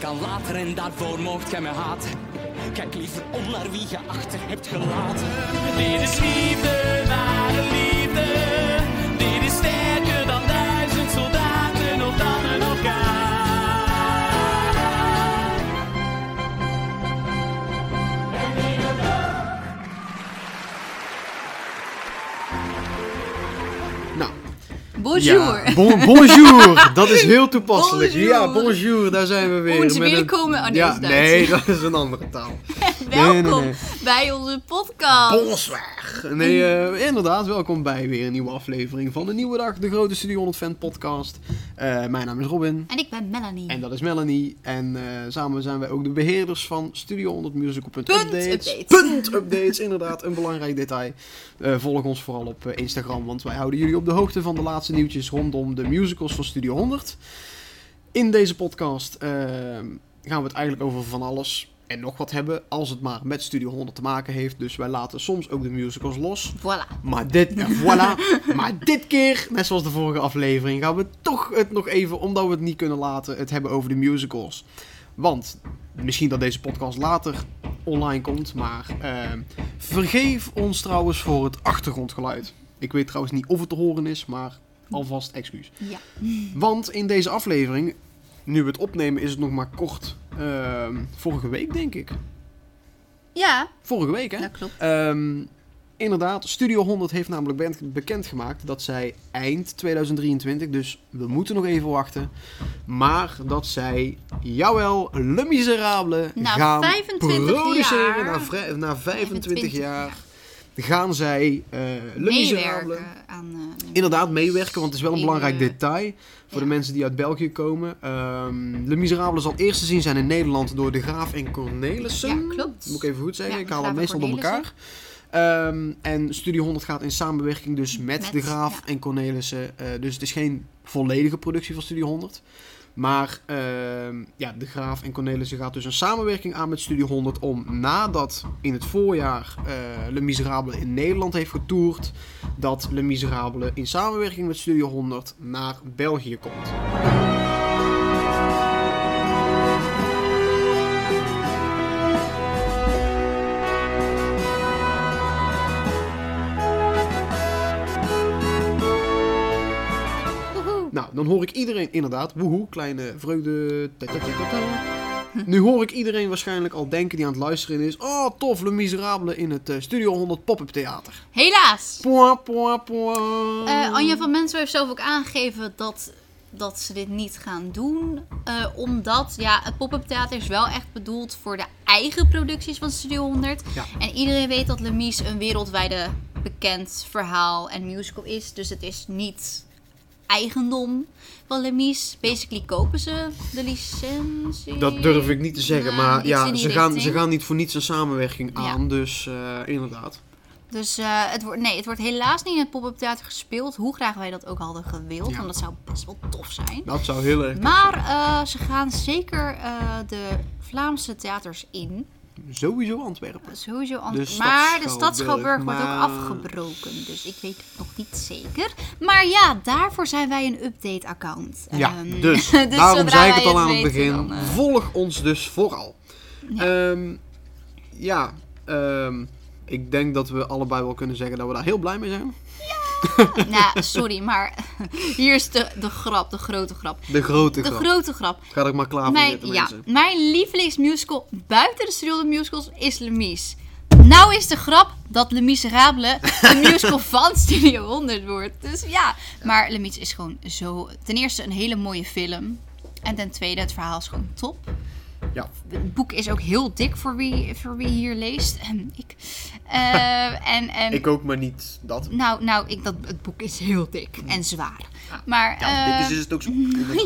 gaan later en daarvoor moogt gij me haten. Kijk liever om naar wie je achter hebt gelaten. Dit is liefde, ware liefde. Dit is sterker dan duizend soldaten of dan een orkaan. Nou, Bonjour. Ja, bon- bonjour. Dat is heel toepasselijk. Bonjour. Ja, bonjour. Daar zijn we weer. Onze met een- welkomen- oh, nee, ja, dat is nee, Duits. dat is een andere taal. Welkom Nee, nee, nee. bij onze podcast. Bosweg. Nee, eh, inderdaad. Welkom bij weer een nieuwe aflevering van de Nieuwe Dag, de Grote Studio 100 Fan podcast. Eh, mijn naam is Robin. En ik ben Melanie. En dat is Melanie. En eh, samen zijn wij ook de beheerders van Studio 100 Musical. Punt updates. updates. Punt updates, inderdaad. Een belangrijk detail. Eh, volg ons vooral op eh, Instagram, want wij houden jullie op de hoogte van de laatste nieuwtjes rondom de musicals van Studio 100. In deze podcast eh, gaan we het eigenlijk over van alles en nog wat hebben, als het maar met Studio 100 te maken heeft. Dus wij laten soms ook de musicals los. Voilà. Maar dit, en voilà. maar dit keer, net zoals de vorige aflevering, gaan we toch het nog even, omdat we het niet kunnen laten, het hebben over de musicals. Want misschien dat deze podcast later online komt, maar ehm, vergeef ons trouwens voor het achtergrondgeluid. Ik weet trouwens niet of het te horen is, maar alvast excuus. Ja. Want in deze aflevering, nu we het opnemen, is het nog maar kort. ehm, vorige week, denk ik. Ja, Vorige week, hè? dat klopt. Ehm, inderdaad, Studio 100 heeft namelijk bent- bekendgemaakt dat zij eind 2023, dus we moeten nog even wachten, maar dat zij, jawel, Le Miserable Na gaan 25 produceren. jaar. na, vrij- na 25 25 jaar gaan zij eh Le Miserable Meewerken aan... eh, de- inderdaad meewerken, want het is wel een belangrijk Meewerken. detail voor de Ja. mensen die uit België komen. Ehm Le Miserable zal eerst te zien zijn in Nederland door De Graaf en Cornelissen. Ja, klopt. Moet ik even goed zeggen, Ja, ik haal De het Graaf meestal en door elkaar. Ehm, en Studio 100 gaat in samenwerking dus met, Met, De Graaf ja. en Cornelissen. Eh, dus het is geen volledige productie van Studio 100. Maar ehm, ja, De Graaf en Cornelissen gaat dus een samenwerking aan met Studio 100 om nadat in het voorjaar eh, Le Miserable in Nederland heeft getoerd, dat Le Miserable in samenwerking met Studio 100 naar België komt. Woehoe. Nou, dan hoor ik iedereen inderdaad, woehoe, kleine vreugde. ta, ta, ta, ta, ta. Nu hoor ik iedereen waarschijnlijk al denken die aan het luisteren is. Oh, tof, Le Miserable in het eh, Studio 100 pop-up theater. Helaas. Poa, poa, poa. Eh, Anja Mm. van Mensen heeft zelf ook aangegeven dat, dat ze dit niet gaan doen. Eh, omdat ja, het pop-up theater is wel echt bedoeld voor de eigen producties van Studio 100. Ja. En iedereen weet dat Lemise een wereldwijde bekend verhaal en musical is. Dus het is niet eigendom van Lemise. Basically kopen ze de licentie. Dat durf ik niet te zeggen, Nou, maar iets ja, in die ze gaan, richting. ze gaan niet voor niets een samenwerking Ja. aan, dus eh, inderdaad. Dus eh, het, wordt, nee, het wordt helaas niet in het pop-up theater gespeeld. Hoe graag wij dat ook hadden gewild. Ja. Want dat zou best wel tof zijn. Dat zou heel erg Maar eh, ze gaan zeker eh, de Vlaamse theaters in. sowieso Antwerpen. Sowieso an- maar De de Stadsschouwburg, Stadsschouwburg wordt maar- ook afgebroken. Dus ik weet het nog niet zeker. Maar ja, daarvoor zijn wij een update-account. Ja, Ehm, dus, daarom zodra zei wij ik het al aan het weten, begin. dan, eh, Volg ons dus vooral. Ja, ja ehm, ik denk dat we allebei wel kunnen zeggen dat we daar heel blij mee zijn. nou, sorry, maar hier is de, de grap, de grote grap. De grote De grap. grote grap. Ga er maar klaar voor Mijn, zitten, ja, mensen. mijn lievelingsmusical buiten de serial musicals is Le Mis. Nou is de grap dat Le Miserable een musical van Studio 100 wordt. Dus ja, maar Le Mis is gewoon zo... Ten eerste een hele mooie film. En ten tweede, het verhaal is gewoon top. Ja. Het boek is ook heel dik voor wie, voor wie hier leest. En ik. Eh, en, en, Ik ook, maar niet dat. Nou, nou ik, dat, het boek is heel dik en zwaar. Maar, Ja, eh, dit is, dus- is het ook zo.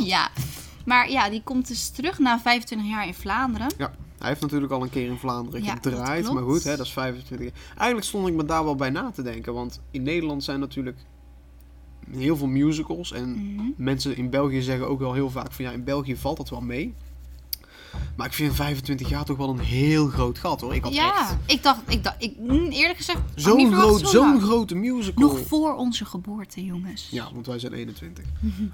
ja. Maar ja, die komt dus terug na 25 jaar in Vlaanderen. Ja, hij heeft natuurlijk al een keer in Vlaanderen Ja, dat gedraaid, klopt. maar goed, hè, dat is 25 jaar. Eigenlijk stond ik me daar wel bij na te denken, want in Nederland zijn natuurlijk heel veel musicals. En Mhm. mensen in België zeggen ook wel heel vaak van ja, in België valt dat wel mee. Maar ik vind 25 jaar toch wel een heel groot gat hoor. Ik had echt Ja, ik dacht, ik dacht ik, mm, eerlijk gezegd, had ik niet zo'n verwacht groot, zo zo'n lang. grote musical. Nog voor onze geboorte, jongens. Ja, want wij zijn 21.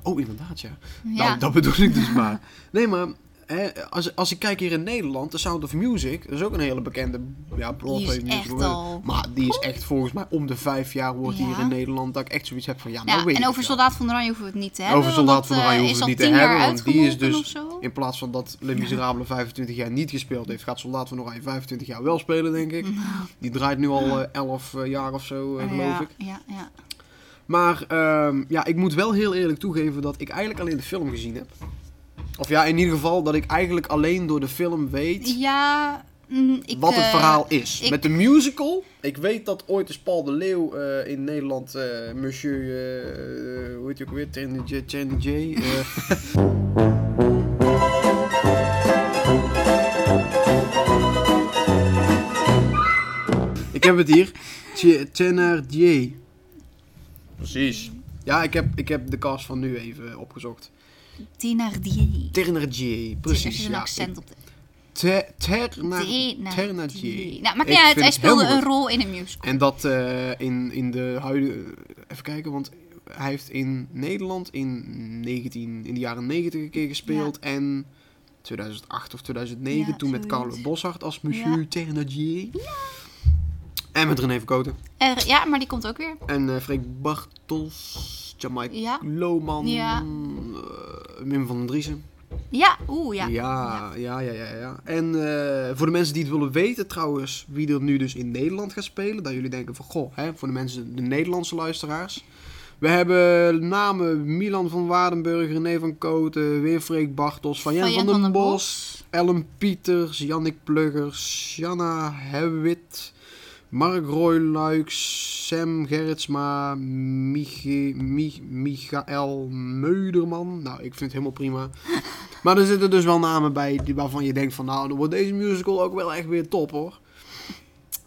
Oh, inderdaad, ja. Ja. Nou, dat bedoel ik dus maar. Nee, maar hè, als, als ik kijk hier in Nederland, The Sound of Music, dat is ook een hele bekende ja, Broadway Die is musical. echt al- Maar die is echt volgens mij om de vijf jaar wordt Ja. hier in Nederland dat ik echt zoiets heb van ja, nou Ja, weet en ik over wel. Soldaat eh, van Oranje hoeven we het niet te hebben. Over Soldaat van Oranje hoeven hoeven we het niet te hebben, want die is Of dus zo. in plaats van dat Le Miserable 25 jaar niet gespeeld heeft, gaat Soldaat van Oranje 25 jaar wel spelen, denk ik. Die draait nu al eh, 11 eh, jaar of zo, eh, geloof Nou. ja, ik. Ja, ja. Maar ehm, ja, ik moet wel heel eerlijk toegeven dat ik eigenlijk alleen de film gezien heb. Of ja, in ieder geval dat ik eigenlijk alleen door de film weet ja mm, ik, wat het eh, verhaal is. ik- Met de musical, ik weet dat ooit is Paul de Leeuw eh, in Nederland, eh, Monsieur, eh, eh, hoe heet je ook weer, Channing J. Channing J eh, ik heb het hier, Ch- Thénardier. Precies. Ja, ik heb, ik heb de cast van nu even opgezocht. Thénardier. Thénardier, Er precies. zit een ja, accent ik- op. de- Ter- Terna- Thénardier. Thénardier. Nou, maakt niet Ik uit. vind Hij het speelde heel een moeilijk. rol in een musical. En dat eh, in, in de huidige... Even kijken, want hij heeft in Nederland in, 19, in de jaren 90 een keer gespeeld. En 2008 of 2009, Ja, toen met zoiets. Carlo Bossart als Monsieur Thénardier. En met René Verkoten. Er- Eh, ja, maar die komt ook weer. En eh Freek Bartels, Jamaica Ja. Lohman, Ja. eh, Wim van den Driessen. Ja, oeh, ja. Ja, ja, ja, ja. ja. En eh, voor de mensen die het willen weten trouwens, wie er nu dus in Nederland gaat spelen. Dat jullie denken van, goh, hè, voor de mensen, de Nederlandse luisteraars. We hebben namen Milan van Waardenburg, René van Kooten, Winfreek Bartels, Van Jan van, den Bos, Ellen Pieters, Jannik Pluggers, Janna Hewitt, Mark Roy Luiks, Sam Gerritsma, Michi- Mi- Michael Meuderman. Nou, ik vind het helemaal prima. Maar er zitten dus wel namen bij die- waarvan je denkt van... nou, dan wordt deze musical ook wel echt weer top, hoor.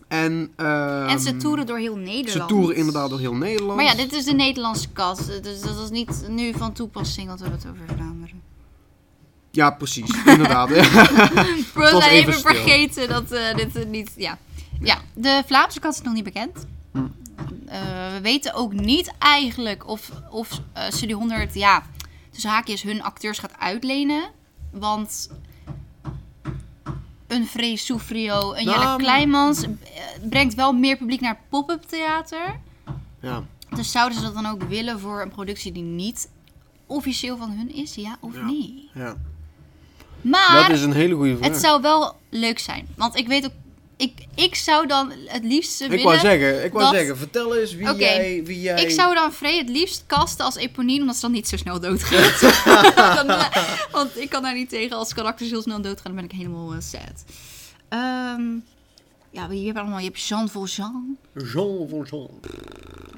En, ehm, en ze toeren door heel Nederland. Ze toeren inderdaad door heel Nederland. Maar ja, dit is de Nederlandse kast. Dus dat is niet nu van toepassing, want we hebben het over Vlaanderen. Ja, precies. Inderdaad. We zijn even even stil. vergeten dat eh, dit er niet... Ja. ja, de Vlaamse kant is nog niet bekend. Hm. Eh, we weten ook niet eigenlijk of, of eh, Studio 100, ja, tussen haakjes, hun acteurs gaat uitlenen. Want een Vrees Soufrio, een Jelle Nou, Kleinmans eh, brengt wel meer publiek naar het pop-up theater. ja. Dus zouden ze dat dan ook willen voor een productie die niet officieel van hun is? Ja of Ja. nee? ja. Maar Dat is een hele goede vraag. het zou wel leuk zijn. Want ik weet ook... Ik, ik zou dan het liefst Ik willen... wou zeggen, ik wou dat- zeggen, vertel eens wie Oké, jij, wie jij... Ik zou dan Frey het liefst kasten als Eponine, omdat ze dan niet zo snel doodgaat. Dan, eh, want ik kan daar niet tegen. Als karakters heel snel doodgaan, dan ben ik helemaal eh, sad. Ehm, ja, wie heb je allemaal? Je hebt Jean Valjean. Jean Valjean.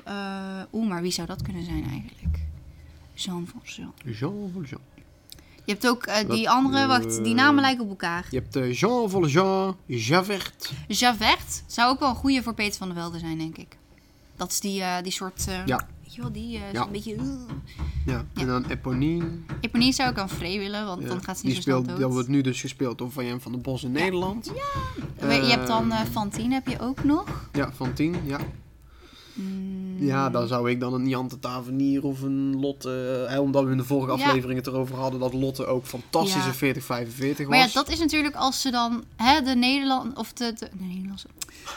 Eh, Oeh, maar wie zou dat kunnen zijn eigenlijk? Jean Valjean. Jean Valjean. Je hebt ook eh, die Dat- andere, wacht, die eh, namen lijken op elkaar. Dus Je hebt eh, Jean Valjean, Javert. Javert zou ook wel een goede voor Peter van der Velde zijn, denk ik. Dat is die, eh, die soort... eh, Ja. weet je wel, die eh, is Ja. een beetje... Ja. En dan Eponine. Eponine zou ik aan Frey willen, want Ja. dan gaat ze Die niet zo snel speelt, dood. dat wordt nu dus gespeeld door Van Jan van den Bos in Nederland. Ja. We- je hebt dan Ehm. eh, Fantine, heb je ook nog. van tien, ja. Mm. Ja, dan zou ik dan een Jante Tavernier of een Lotte... eh, omdat we in de vorige Ja. aflevering het erover hadden dat Lotte ook fantastische Ja. 40-45 was. Maar ja, dat is natuurlijk als ze dan hè, de Nederland... Of de... de de Nederlandse...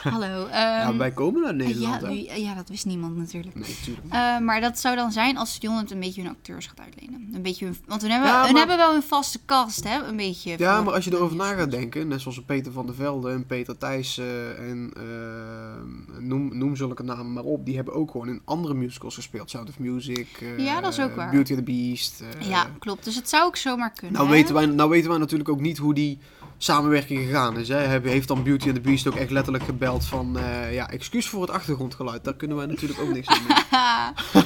Hallo. ehm, eh, Ja, wij komen uit Nederland, ja, hè? wie- ja, dat wist niemand natuurlijk. Nee, natuurlijk. Eh, maar dat zou dan zijn als Studio 100 een beetje hun acteurs gaat uitlenen. Een beetje hun, want hun hebben, Ja, hun maar- hebben wel een vaste cast, hè? Een beetje. Ja, voor- maar als je erover na gaat denken, net zoals Peter van der Velde en Peter Thijssen en eh, noem, noem zulke namen maar op, die hebben ook gewoon in andere musicals gespeeld. Sound of Music, eh, Ja, dat is ook waar. Beauty and the Beast. eh. Ja, klopt. Dus het zou ook zomaar kunnen. nou, hè? weten wij, nou weten wij natuurlijk ook niet hoe die samenwerking gegaan is. Hè. Heb- Heeft dan Beauty and the Beast ook echt letterlijk gebeld van, eh, ja, excuus voor het achtergrondgeluid. Daar kunnen wij natuurlijk ook niks aan doen. Oh.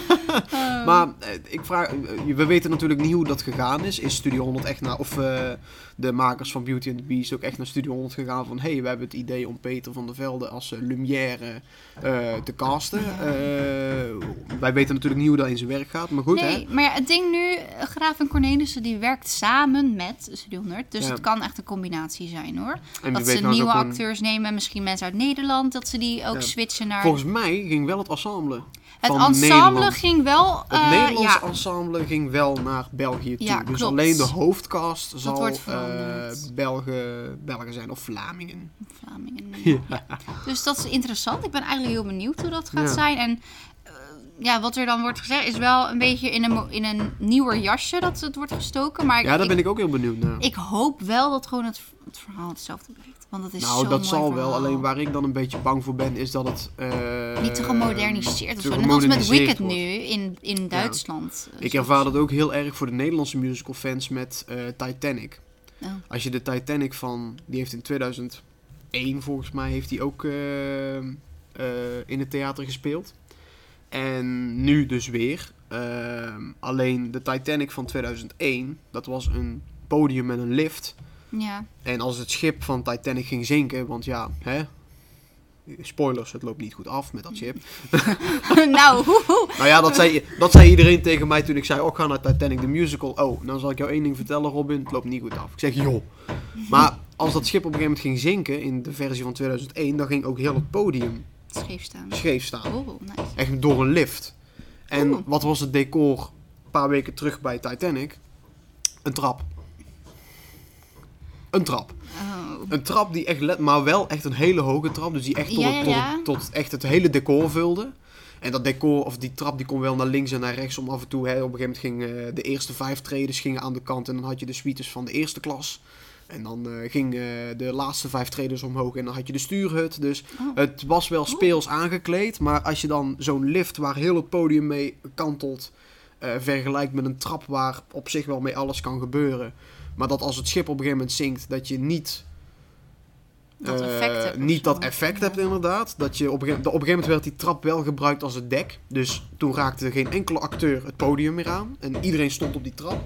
Maar eh, ik vraag, eh, we weten natuurlijk niet hoe dat gegaan is. Is Studio 100 echt naar, of eh, de makers van Beauty and the Beast ook echt naar Studio 100 gegaan van, hey, we hebben het idee om Peter van der Velde als eh, Lumière eh, te casten. Eh, wij weten natuurlijk niet hoe dat in zijn werk gaat, maar goed, nee, hè? maar ja, het ding nu, eh, Graaf en Cornelissen die werkt samen met Studio 100. Dus Ja. het kan echt een combinatie zijn hoor. En dat ze nou eens nieuwe ook gewoon- acteurs nemen, misschien mensen uit Nederland, dat ze die ook Ja. switchen naar. Volgens mij ging wel het ensemble. Het van ensemble Nederland. ging wel... Het eh, Nederlands ja. ensemble ging wel naar België toe. Ja, dus klopt. alleen de hoofdcast zal wordt veranderd. eh, Belgen, Belgen zijn of Vlamingen. Vlamingen. Ja. Dus dat is interessant. Ik ben eigenlijk heel benieuwd hoe dat gaat Ja. zijn. En eh, ja, wat er dan wordt gezegd is wel een beetje in een, mo- in een nieuwer jasje dat het wordt gestoken. Maar ik, Ja, daar ben ik, ik ook heel benieuwd naar. ik hoop wel dat gewoon het, het verhaal hetzelfde blijft. Want dat is nou, zo'n dat mooi zal wel. verhaal. Alleen waar ik dan een beetje bang voor ben, is dat het... eh, Niet te gemoderniseerd of te zo. Net als met gemoderniseerd Wicked wordt. nu in, in Duitsland. Eh, Ik zo- ervaar dat ook heel erg voor de Nederlandse musicalfans met eh, Titanic. Oh. Als je de Titanic van... Die heeft in 2001 volgens mij heeft die ook eh, eh, in het theater gespeeld. En nu dus weer. Ehm, alleen de Titanic van 2001, dat was een podium met een lift. Ja, En als het schip van Titanic ging zinken, want ja, hè... Spoilers, het loopt niet goed af met dat schip. nou, hoehoe. Nou ja, dat zei, dat zei iedereen tegen mij toen ik zei, oh, ga naar Titanic the Musical. Oh, dan zal ik jou één ding vertellen, Robin. Het loopt niet goed af. Ik zeg, joh. Maar als dat schip op een gegeven moment ging zinken in de versie van 2001, dan ging ook heel het podium scheef staan. scheef staan. Oh, nice. Echt door een lift. En Oeh. wat was het decor een paar weken terug bij Titanic? Een trap. Een trap. Oh. Een trap die echt, let, maar wel echt een hele hoge trap. Dus die echt tot, Ja, ja, het- tot ja. het- tot echt het hele decor vulde. En dat decor, of die trap, die kon wel naar links en naar rechts. Om af en toe, hè, op een gegeven moment gingen eh, de eerste vijf tredens gingen aan de kant. En dan had je de suites van de eerste klas. En dan eh, ging eh, de laatste vijf tredens omhoog. En dan had je de stuurhut. Dus Oh. het was wel speels aangekleed. Maar als je dan zo'n lift waar heel het podium mee kantelt. eh, vergelijkt met een trap waar op zich wel mee alles kan gebeuren. Maar dat als het schip op een gegeven moment zinkt, dat je niet Dat eh, effect hebt of niet zo. dat effect Ja. hebt inderdaad. Dat je op, een gegeven, op een gegeven moment werd die trap wel gebruikt als het dek. Dus toen raakte geen enkele acteur het podium meer aan. En iedereen stond op die trap.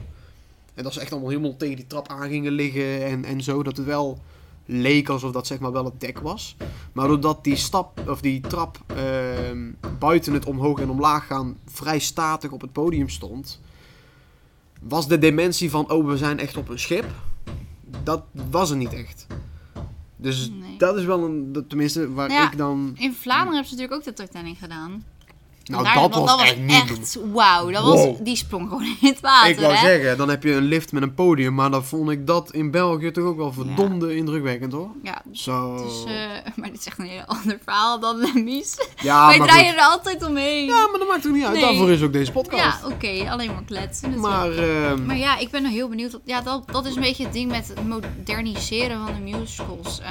En dat ze echt allemaal helemaal tegen die trap aan gingen liggen en, en zo. Dat het wel leek alsof dat zeg maar wel het dek was. Maar doordat die, stap, of die trap ehm, buiten het omhoog en omlaag gaan vrij statig op het podium stond... Was de dimensie van, oh we zijn echt op een schip, dat was er niet echt. Dus Nee. dat is wel een, dat- tenminste waar Nou ja, ik dan... In Vlaanderen hebben ze natuurlijk ook de Titanic gedaan. Nou Daar- dat was want echt niet doen. echt wauw. Dat was, Wow. die sprong gewoon in het water. Ik wou hè? zeggen, dan heb je een lift met een podium, maar dan vond ik dat in België toch ook wel verdomde indrukwekkend hoor. Ja, Zo. dus, eh, maar dit is echt een heel ander verhaal dan Lemies. ja, Wij maar draaien goed. er altijd omheen. ja, maar dat maakt toch niet uit. Nee. Daarvoor is ook deze Ja, podcast. oké, alleen maar kletsen. natuurlijk. maar, ehm, Maar ja, ik ben nog heel benieuwd. Ja, dat, dat is een beetje het ding met het moderniseren van de musicals. eh,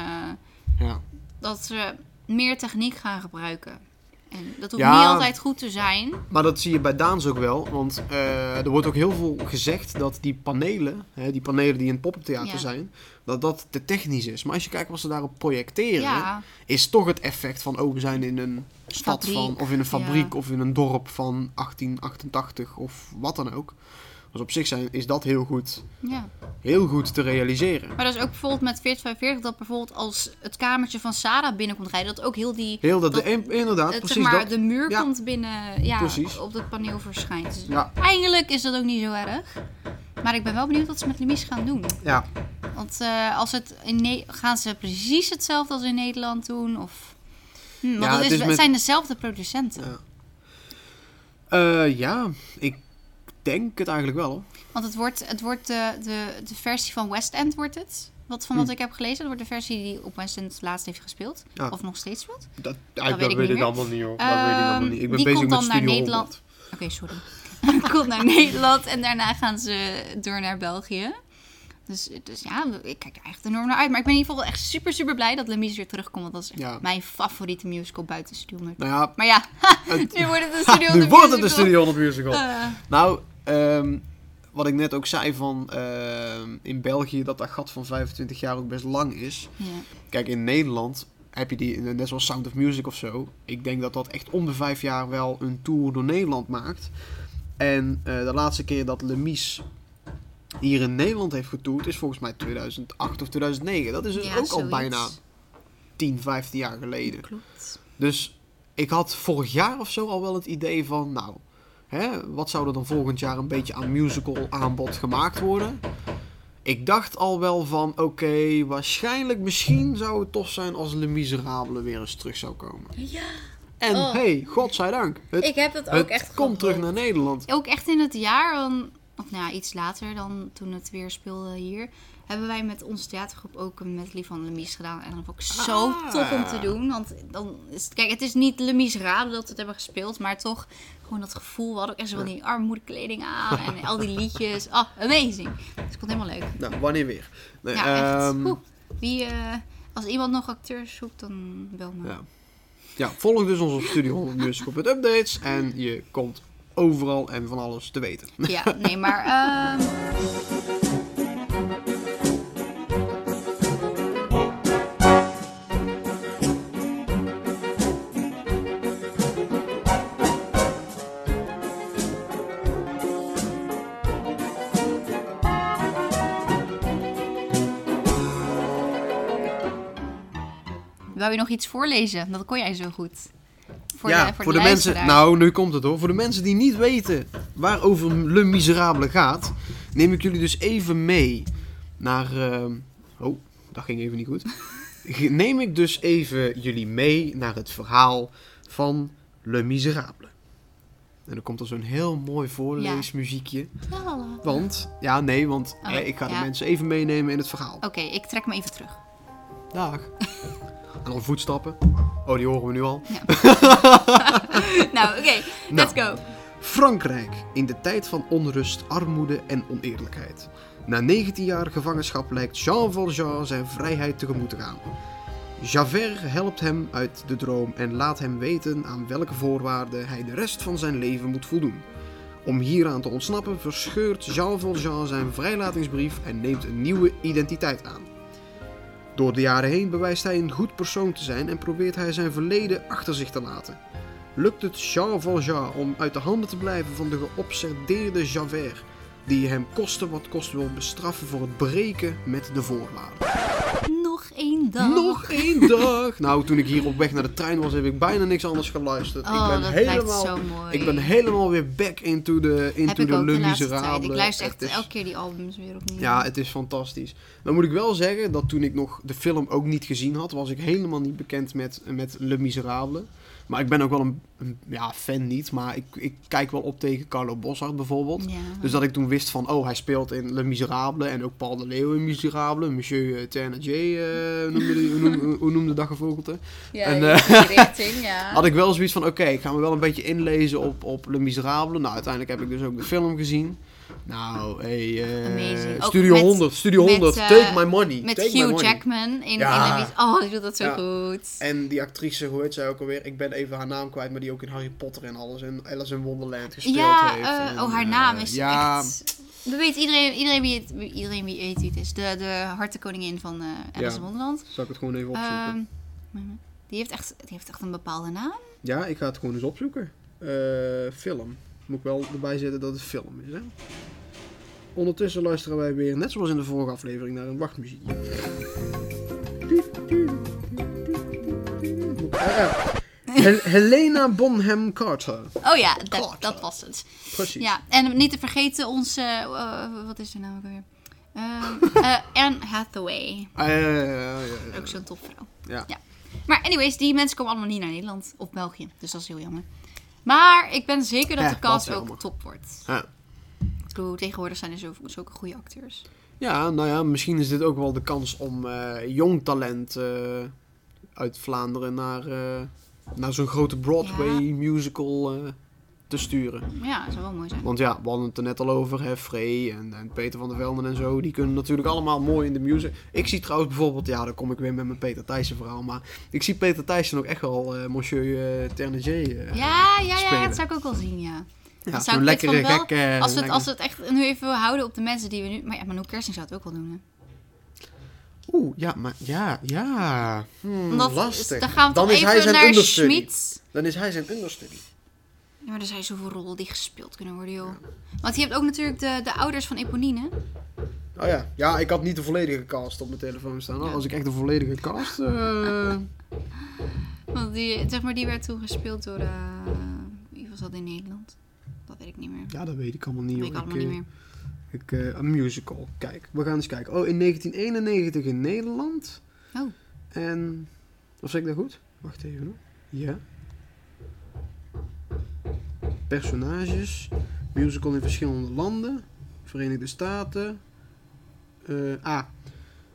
ja. dat ze meer techniek gaan gebruiken. En dat hoeft Ja. niet altijd goed te zijn. maar dat zie je bij Daans ook wel, want eh, er wordt ook heel veel gezegd dat die panelen, hè, die panelen die in het pop-up theater Ja. zijn, dat dat te technisch is. Maar als je kijkt wat ze daarop projecteren, Ja, is toch het effect van oh, we zijn in een stad Fabriek, van, of in een fabriek, ja. of in een dorp van 1888 of wat dan ook. Dus op zich zijn, is dat heel goed, ja. heel goed te realiseren. Maar dat is ook bijvoorbeeld met 4045 dat bijvoorbeeld als het kamertje van Sarah binnenkomt rijden, dat ook heel die Heel dat, Dat- de, inderdaad, het, precies zeg maar, dat. de muur Ja. komt binnen ja, Precies. op het paneel verschijnt. Dus Ja. Eigenlijk is dat ook niet zo erg. Maar ik ben wel benieuwd wat ze met Lemies gaan doen. Ja, Want eh, als het in Ne- gaan ze precies hetzelfde als in Nederland doen? Of... Hm, want Ja, het, het is, is het met- zijn dezelfde producenten. Ja. Eh, ja, ik denk het eigenlijk wel. hoor. Want het wordt, het wordt de, de, de versie van West End wordt het. Wat, van wat ik heb gelezen, dat wordt de versie die op West End laatst heeft gespeeld. Hm. Ja. Of nog steeds speelt. Dat, weet ik niet meer. niet hoor. Ehm, die komt dan naar Studio Nederland. 100. Oké, sorry. komt naar Nederland en daarna gaan ze door naar België. Dus, dus ja, ik kijk er echt enorm naar uit. Maar ik ben in ieder geval echt super, super blij dat Lemies weer terugkomt. Want dat is echt Ja. mijn favoriete musical buiten Studio 100. Nou ja, Maar ja, het- nu wordt het een Studio nu 100 wordt het een musical. Studio 100 musical. Eh, Nou, ehm, wat ik net ook zei van ehm, in België dat dat gat van 25 jaar ook best lang is. ja. Kijk, in Nederland heb je die, net zoals Sound of Music of zo. Ik denk dat dat echt om de vijf jaar wel een tour door Nederland maakt. En eh, de laatste keer dat Lemies hier in Nederland heeft getoerd is volgens mij 2008 of 2009. Dat is dus Ja, ook al zoiets. bijna 10, 15 jaar geleden. Klopt. Dus ik had vorig jaar of zo al wel het idee van, nou, hè, wat zou er dan volgend jaar een beetje aan musical aanbod gemaakt worden? Ik dacht al wel van, oké, waarschijnlijk, misschien zou het tof zijn als Le Miserable weer eens terug zou komen. Ja. En Oh. hey, godzijdank. Het, Ik heb dat ook het echt komt terug gehoopt. naar Nederland. Ook echt in het jaar, dan, of nou ja, iets later dan toen het weer speelde hier, hebben wij met onze theatergroep ook een medley van Lemies gedaan. En dat vond ik zo Ah. tof om te doen. Want dan is, het- kijk, het is niet Lemies raden dat we het hebben gespeeld, maar toch gewoon dat gevoel. We hadden ook echt zo van die armoedekleding aan en al die liedjes. Ah, amazing. Dus ik vond het helemaal leuk. Nou, wanneer weer? Nee, Ja, echt. ehm, Oeh. Wie, eh, als iemand nog acteurs zoekt, dan bel me. Ja. ja, volg dus ons op Studio 100 Musical met updates. En je komt overal en van alles te weten. Ja, nee, maar. ehm, Wou je nog iets voorlezen? Dat kon jij zo goed. Voor ja, de, voor de, mensen. luisteraar. Nou, nu komt het hoor. Voor de mensen die niet weten waarover Le Miserable gaat, neem ik jullie dus even mee naar. ehm, oh, dat ging even niet goed. Ge- neem ik dus even jullie mee naar het verhaal van Le Miserable. En dan komt er zo'n heel mooi voorleesmuziekje. La, la, la. Want, ja, nee, want Oh, hè, ik ga ja. de mensen even meenemen in het verhaal. Oké, ik trek me even terug. Oh. Dag. En dan voetstappen. Oh, die horen we nu al. nou, oké, let's go. Frankrijk in de tijd van onrust, armoede en oneerlijkheid. Na 19 jaar gevangenschap lijkt Jean Valjean zijn vrijheid tegemoet te gaan. Javert helpt hem uit de droom en laat hem weten aan welke voorwaarden hij de rest van zijn leven moet voldoen. Om hieraan te ontsnappen verscheurt Jean Valjean zijn vrijlatingsbrief en neemt een nieuwe identiteit aan. Door de jaren heen bewijst hij een goed persoon te zijn en probeert hij zijn verleden achter zich te laten. Lukt het Jean Valjean om uit de handen te blijven van de geobsedeerde Javert, die hem koste wat kost wil bestraffen voor het breken met de voorwaarden? Nog één dag. Nog één dag! Nou, toen ik hier op weg naar de trein was, heb ik bijna niks anders geluisterd. Oh, ik ben dat helemaal, lijkt zo mooi. Ik ben helemaal weer back into the, into Heb ik the ook Le de laatste tijd. Ik Miserable. luister echt Het is- elke keer die albums weer opnieuw. ja, het is fantastisch. Dan moet ik wel zeggen dat toen ik nog de film ook niet gezien had, was ik helemaal niet bekend met, met Le Miserable. Maar ik ben ook wel een, een- ja, fan niet, maar ik, ik kijk wel op tegen Carlo Bossard bijvoorbeeld. Ja. Dus dat ik toen wist van, oh, hij speelt in Le Miserable en ook Paul de Leeuw in Miserable. Monsieur eh, Thénardier, eh, noemde die- hoe noem- hoe noemde dat gevogelte? Ja, en, eh, in die richting, ja. Had ik wel zoiets van, oké, ik ga me wel een beetje inlezen op, op Le Miserable. Nou, uiteindelijk heb ik dus ook de film gezien. Nou, hey, eh, Amazing. Ook Studio met- 100, Studio met, 100, eh, take my money. Met take my Hugh money. Jackman in, Ja. in de Oh, die doet dat zo Ja. goed. En die actrice, hoe heet zij ook alweer? Ik ben even haar naam kwijt, maar die ook in Harry Potter en alles en Alice in Wonderland gespeeld Ja, heeft. eh, En, oh, haar eh, naam is ja, echt... We weten iedereen, iedereen, wie, het, wie- iedereen wie weet wie het is. De, de hartenkoningin van eh Alice Ja. in Wonderland. Zal ik het gewoon even opzoeken? Ehm, die, heeft echt, die heeft echt een bepaalde naam. ja, ik ga het gewoon eens opzoeken. Eh, film. Moet ik wel erbij zetten dat het film is, hè? Ondertussen luisteren wij weer, net zoals in de vorige aflevering, naar een wachtmuziekje. Ah, ja. Hel- Helena Bonham Carter. Oh ja, dat, God. dat was het. Precies. Ja, en niet te vergeten onze... eh, wat is haar naam ook alweer? Ehm, eh, Anne Hathaway. Ah, ja, ja, ja, ja, ja. Ook zo'n topvrouw. Ja. Ja. Maar anyways, die mensen komen allemaal niet naar Nederland of België. Dus dat is heel jammer. Maar ik ben zeker dat Ja, de cast dat is ook jammer. top wordt. Ja. Ik bedoel, tegenwoordig zijn er zoveel- zulke goede acteurs. Ja, nou ja, misschien is dit ook wel de kans om eh, jong talent eh, uit Vlaanderen naar, eh, naar zo'n grote Broadway musical eh, te sturen. Ja, dat zou wel mooi zijn. Want ja, we hadden het er net al over, hè, Frey en, en Peter van der Velden en zo. Die kunnen natuurlijk allemaal mooi in de music. Ik zie trouwens bijvoorbeeld, ja, dan kom ik weer met mijn Peter Thijssen verhaal. Maar ik zie Peter Thijssen ook echt wel eh, Monsieur eh Ternier. eh, Ja, ja, ja, spelen. dat zou ik ook wel zien, ja. ja, Dat zo'n zou ik dit lekkere, van wel- gekke... eh, Als we, het, lekkere- als we het echt nu even houden op de mensen die we nu... Maar ja, Manu Kersing zou het ook wel doen, hè? Oeh, ja, maar ja, ja. Hmm, Omdat- lastig. Dan gaan we Dan toch is hij even zijn naar understudy. Schmid. Dan is hij zijn understudy. Ja, maar er zijn zoveel rollen die gespeeld kunnen worden, joh. Want je hebt ook natuurlijk de, de ouders van Eponine. Oh ja. Ja, ik had niet de volledige cast op mijn telefoon staan. hoor. Als ik echt de volledige cast... eh, Want die, zeg maar, die werd toen gespeeld door... eh, wie was dat in Nederland? Dat weet ik niet meer. ja, dat weet ik allemaal niet. Dat hoor. weet ik allemaal eh, niet meer. Ik, eh, een musical. Kijk, we gaan eens kijken. Oh, in 1991 in Nederland. Oh. En... Of zeg ik dat goed? Wacht even hoor. Ja. Personages. Musical in verschillende landen. Verenigde Staten. Eh ah,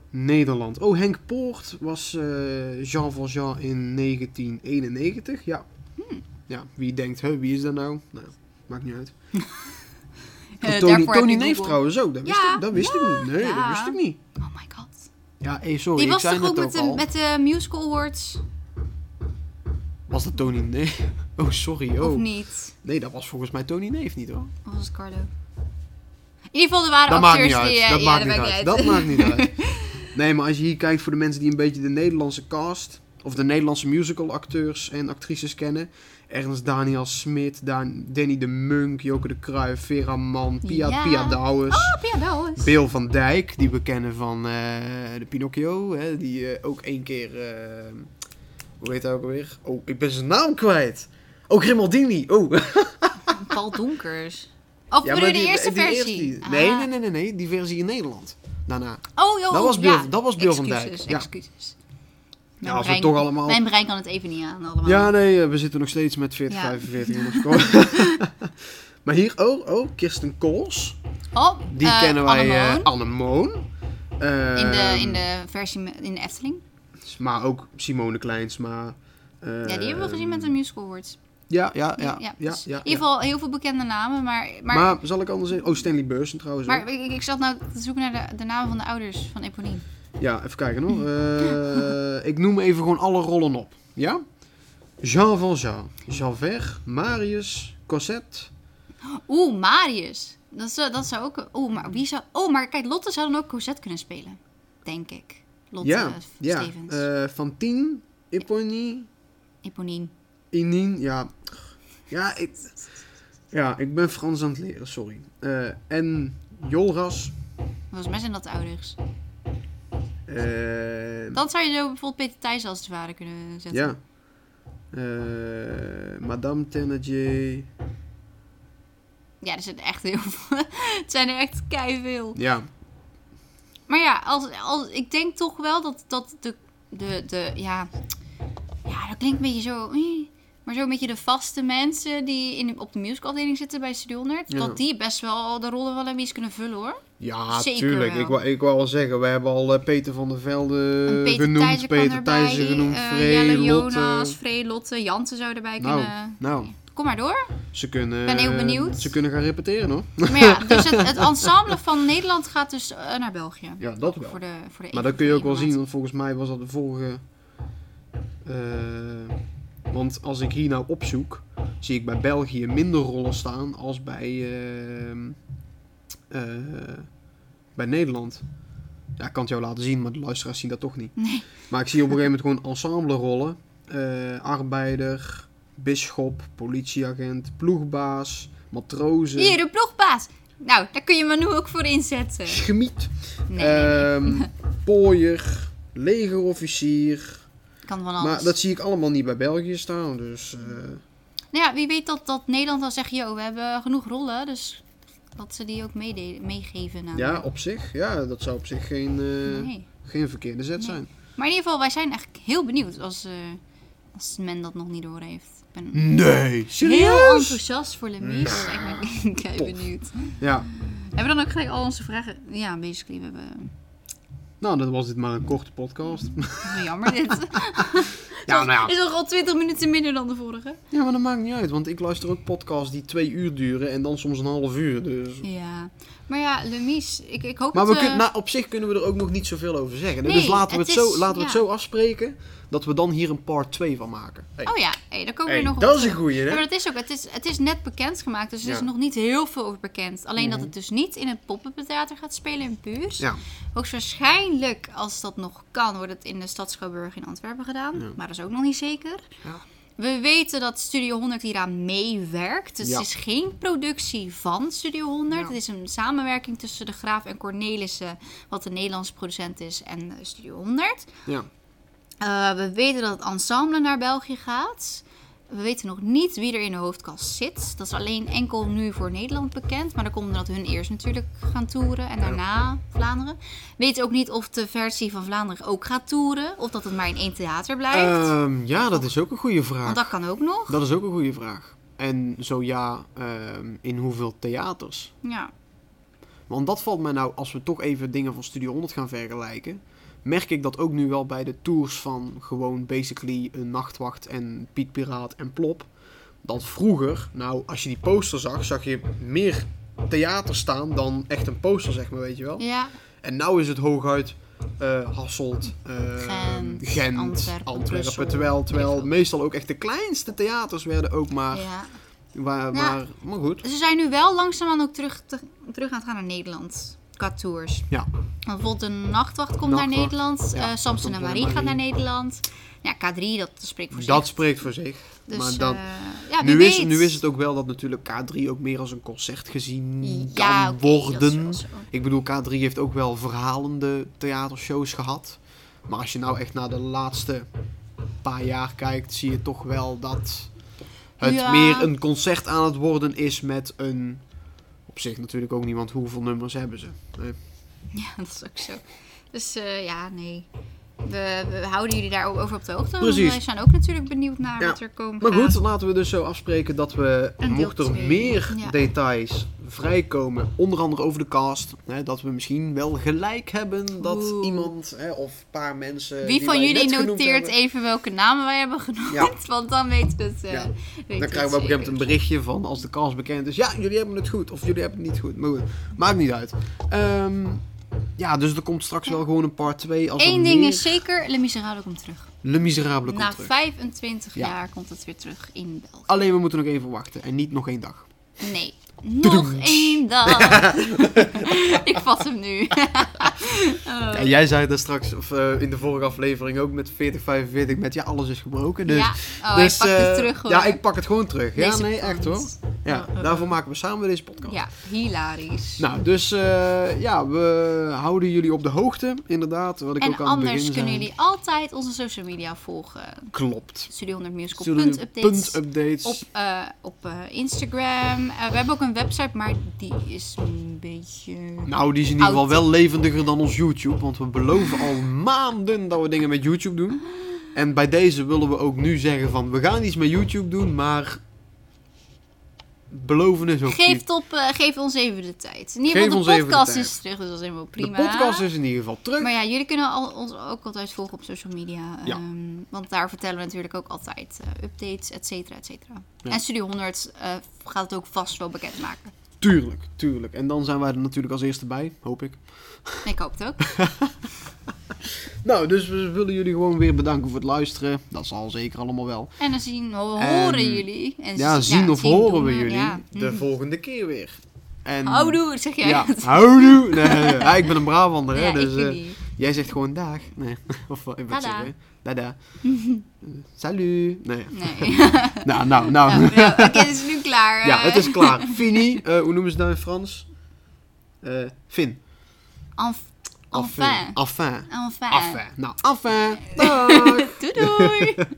Nederland. Oh, Henk Poort was eh, Jean Valjean in 1991. Ja. Ja, wie denkt, hè, wie is dat nou? Nou, maakt niet uit. Eh, Tony, daarvoor heb Tony je Neef Google. trouwens ook. Dat wist, Ja. ik, dat wist ik niet. Nee, dat Ja. wist ik niet. Oh my god. Ja, eh, sorry, Die ik was zei toch ook net met ook de, al. met de Musical Awards? Was dat Tony Neef? Oh, sorry. Of Oh. niet? Nee, dat was volgens mij Tony Neef niet hoor. Of was het Carlo? In ieder geval, er waren Dat maakt acteurs niet uit. die... eh, dat ja, maakt niet maakt uit. Dat maakt niet uit. Nee, maar als je hier kijkt voor de mensen die een beetje de Nederlandse cast... of de Nederlandse musical acteurs en actrices kennen... Ernst Daniel Smit, Dan- Danny de Munk, Joke de Kruijf, Vera Man, Pia, Ja. Pia Douwes... Ah, Pia Douwes. Bill van Dijk, die we kennen van eh, de Pinocchio. Hè, die eh, ook één keer... eh, hoe heet hij ook alweer? Oh, ik ben zijn naam kwijt. Oh, Grimaldini. Oh. Paul Donkers. Of Ja, bedoel maar je de die- eerste die versie? eerste- nee, Ah. nee, nee, nee, nee. Die versie in Nederland. Daarna. Oh, joh, Dat was ja. Bill- dat was Bill van Dijk, Excuses, ja. excuses. Mijn Ja, als we brein- toch allemaal- Mijn brein kan het even niet aan allemaal. Ja, nee, eh, we zitten nog steeds met 40, Ja. 45 in ons score. maar hier, oh, oh, Kirsten Kools. Oh, Die eh, kennen wij, Annemoon. eh, Anne Moon. Ehm, in, de, in de versie me- in de Efteling. Maar ook Simone Kleinsma. eh, Ja, die hebben we gezien met de Musical Awards. Ja, ja, ja. ja, ja, dus in ieder ja. geval heel veel bekende namen, maar... Maar, Maar, zal ik anders zeggen? Oh, Stanley Beursen trouwens. maar ook. ik, ik zat nou te zoeken naar de, de namen van de ouders van Eponine. Ja, even kijken hoor. Eh, ik noem even gewoon alle rollen op. Ja? Jean Valjean, Javert, Marius, Cosette, Oeh, Marius. Dat zou, dat zou ook... Oeh, maar wie zou... Oh, maar kijk, Lotte zou dan ook Cosette kunnen spelen. Denk ik. Lotte Ja, eh, ja. Stevens. Eh, Fantine, Iponie, Eponine. Inine, ja. Ja ik, ja, ik ben Frans aan het leren, sorry. Eh, en Jolras. Volgens mij zijn dat de ouders. eh, Dan zou je zo bijvoorbeeld Peter Thijs als het ware kunnen zetten. ja. Eh, Madame Thénardier. Ja, er zijn er echt heel veel. het zijn er echt veel. Ja, Maar ja, als, als, ik denk toch wel dat, dat de, de, de... Ja, ja, dat klinkt een beetje zo... eh, Maar zo'n beetje de vaste mensen die in, op de musicalafdeling zitten bij Studio 100... Ja. dat die best wel de rollen wel een beetje kunnen vullen, hoor. ja Zeker tuurlijk. wel. Ik wou, ik wou al zeggen, we hebben al eh, Peter van der Velde Een Peter genoemd. Thijssen kan Eh, Peter erbij, Thijssen genoemd. eh, Free, Jelle Lotte. Jonas, Free, Lotte, Jansen zou erbij Nou, kunnen. nou, Kom maar door. ze kunnen... ben heel eh, benieuwd. Ze kunnen gaan repeteren hoor. Maar ja, dus het, het ensemble van Nederland gaat dus eh, naar België. Ja, dat wel. Voor de, voor de Maar een- dat kun je ook wel eenmaal. zien, want volgens mij was dat de vorige. eh, want als ik hier nou opzoek, zie ik bij België minder rollen staan als bij, ehm, eh, bij Nederland. Ja, ik kan het jou laten zien, maar de luisteraars zien dat toch niet. Nee. Maar ik zie op een gegeven moment gewoon ensemble rollen. Eh, arbeider, bisschop, politieagent, ploegbaas, matrozen, Hier, de ploegbaas. Nou, daar kun je Manu ook voor inzetten. schmied, Nee, nee, ehm pooier, legerofficier, nee. kan van alles. Maar dat zie ik allemaal niet bij België staan, dus... eh, Nou ja, wie weet dat, dat Nederland dan zegt, yo, we hebben genoeg rollen, dus dat ze die ook meede- meegeven. aan- ja, op zich. Ja, dat zou op zich geen, eh, Nee. geen verkeerde zet Nee. zijn. Maar in ieder geval, wij zijn echt heel benieuwd als, eh, als men dat nog niet door heeft. Ik Mm. ben Nee, heel enthousiast voor Mm. Lemies. Ik ben kei benieuwd. Ja, Hebben we dan ook gelijk al onze vragen? Ja, basically, we hebben... nou, dat was dit maar een korte podcast. Zo Jammer dit. ja, nou ja. Is al al 20 minuten minder dan de vorige. Ja, maar dat maakt niet uit, want ik luister ook podcasts die twee uur duren en dan soms een half uur, dus... Ja. Maar ja, Lemies, ik, ik hoop Maar we dat... kunnen, nou, op zich kunnen we er ook nog niet zoveel over zeggen. eh, Nee, dus laten we het, het zo, is- laten we het ja. zo afspreken dat we dan hier een part 2 van maken. Hey. Oh ja, hey, daar komen Hey, we nog op dat is terug. een goeie, Ja, hè? maar dat is ook, het is, het is net bekendgemaakt, dus er is Ja. nog niet heel veel over bekend. Alleen dat het dus niet in het pop-up theater gaat spelen in Puurs. Mhm. Ja, Hoogstwaarschijnlijk, als dat nog kan, wordt het in de Stad Schouwburg in Antwerpen gedaan. Maar dat is ook nog niet zeker. Ja. We weten dat Studio 100 hieraan meewerkt. Dus Ja. het is geen productie van Studio 100. Het is een samenwerking tussen De Graaf en Cornelissen, wat een Nederlandse producent is, en eh, Studio 100. ja. Eh, we weten dat het ensemble naar België gaat. We weten nog niet wie er in de hoofdkast zit. Dat is alleen enkel nu voor Nederland bekend. Maar dan komt omdat hun eerst natuurlijk gaan toeren en daarna Vlaanderen. We weten ook niet of de versie van Vlaanderen ook gaat toeren. Of dat het maar in één theater blijft. Ehm, ja, Eh, dat is ook een goede vraag. Want dat kan ook nog. Dat is ook een goede vraag. En zo ja, ehm, in hoeveel theaters? Ja. Want dat valt mij nou, als we toch even dingen van Studio 100 gaan vergelijken, merk ik dat ook nu wel bij de tours van gewoon basically een nachtwacht en Piet Piraat en Plop. Dat vroeger, nou als je die poster zag, zag je meer theater staan dan echt een poster, zeg maar, weet je wel. Ja. En nou is het hooguit eh, Hasselt, eh, Gent, Gent, Antwerpen, Antwerpen. Brussel, terwijl terwijl Nederland. meestal ook echt de kleinste theaters werden ook maar... ja. Waar, Ja. maar, maar goed. Ze zijn nu wel langzaamaan ook terug, te- terug aan het gaan naar Nederland. Qua tours. Ja. Want bijvoorbeeld de Nachtwacht komt Nachtwacht, naar Nederland. ja. eh, Samson en Samson en Marie gaat Marie. naar Nederland. Ja, K3, dat spreekt voor Dat zich. spreekt voor zich. Dus, maar eh, dan, ja, wie nu, is, weet. nu is het ook wel dat natuurlijk K3 ook meer als een concert gezien Ja, kan oké, dat is worden. wel zo. Ik bedoel, K3 heeft ook wel verhalende theatershows gehad. Maar als je nou echt naar de laatste paar jaar kijkt, zie je toch wel dat het Ja. meer een concert aan het worden is met een... Op zich natuurlijk ook niet, want hoeveel nummers hebben ze? Nee. Ja, dat is ook zo. Dus eh, ja, nee. We, we houden jullie daar ook over op de hoogte. want Precies. Wij zijn ook natuurlijk benieuwd naar Ja. wat er komt. Maar goed, laten we dus zo afspreken dat we, Een deel mocht er twee, meer ja. details vrijkomen, onder andere over de cast, hè, dat we misschien wel gelijk hebben dat Oeh. iemand hè, of een paar mensen. Wie eh, die van wij jullie net genoemd noteert hebben, even welke namen wij hebben genoemd? Ja. Want dan weten we het. eh, Ja. weten we Dan het krijgen we op een gegeven moment zeker. een berichtje van als de cast bekend is. Ja, jullie hebben het goed of jullie hebben het niet goed. Maar goed, maakt niet uit. Ehm, ja, dus er komt straks wel gewoon een part 2. Als Eén er ding meer is Nou, zeker, Le Miserable komt terug. Le Miserable komt Na terug. 25 Ja. jaar komt het weer terug in België. Alleen we moeten nog even wachten en niet nog één dag. Nee, nog één dag. Ik vat hem nu. Eh, Ja, jij zei dat straks of, eh, in de vorige aflevering ook met 4045 met ja, alles is gebroken. Dus, ja, oh, hij dus, pakt eh, het terug hoor. Ja, ik pak het gewoon terug. Ja, Deze nee, echt hoor. kant. Ja, daarvoor maken we samen deze podcast. Ja, hilarisch. Nou, dus eh, ja, we houden jullie op de hoogte, inderdaad. Wat ik en ook aan het begin anders kunnen zei. jullie altijd onze social media volgen. Klopt. Studio 100 Musical. Studio- Punt updates. puntupdates. Op, eh, op eh, Instagram. Eh, we hebben ook een website, maar die is een beetje... Nou, die is in ieder geval Oud. wel levendiger dan ons YouTube. Want we beloven al maanden dat we dingen met YouTube doen. En bij deze willen we ook nu zeggen van... We gaan iets met YouTube doen, maar... Beloven is ook niet. Geef, het op, eh, geef ons even de tijd. In ieder Geef geval, ons de even de podcast tijd. is terug, dus dat is helemaal prima. De podcast is in ieder geval terug. Maar ja, jullie kunnen al, ons ook altijd volgen op social media. Ja. ehm, want daar vertellen we natuurlijk ook altijd eh, updates, et cetera, et cetera. Ja. En Studio 100 eh, gaat het ook vast wel bekendmaken. Tuurlijk, tuurlijk. En dan zijn wij er natuurlijk als eerste bij, hoop ik. Ik hoop het ook. Nou, dus we willen jullie gewoon weer bedanken voor het luisteren. Dat zal zeker allemaal wel. En dan zien, ho- En- horen jullie. En Ja, zien of Dus doen horen we jullie Ja. Mhm. de volgende keer weer. En... Houdoe, zeg jij. Ja, houdoe. Nee, nee, nee. Ja, ik ben een Brabander, hè. Ja, dus, ik eh, jullie. Jij zegt gewoon dag. Nee, of wat Dada. wat zeg je? Dada. Salut. Nee. Nee. Nou, nou, nou. Nou, ja, Oké, het is nu klaar. Ja, eh. het is klaar. Fini. eh, hoe noemen ze dat in Frans? Eh fin. Enf- Enfin. Enfin. Enfin. Enfin. Nou, enfin. Dag. Doei doei.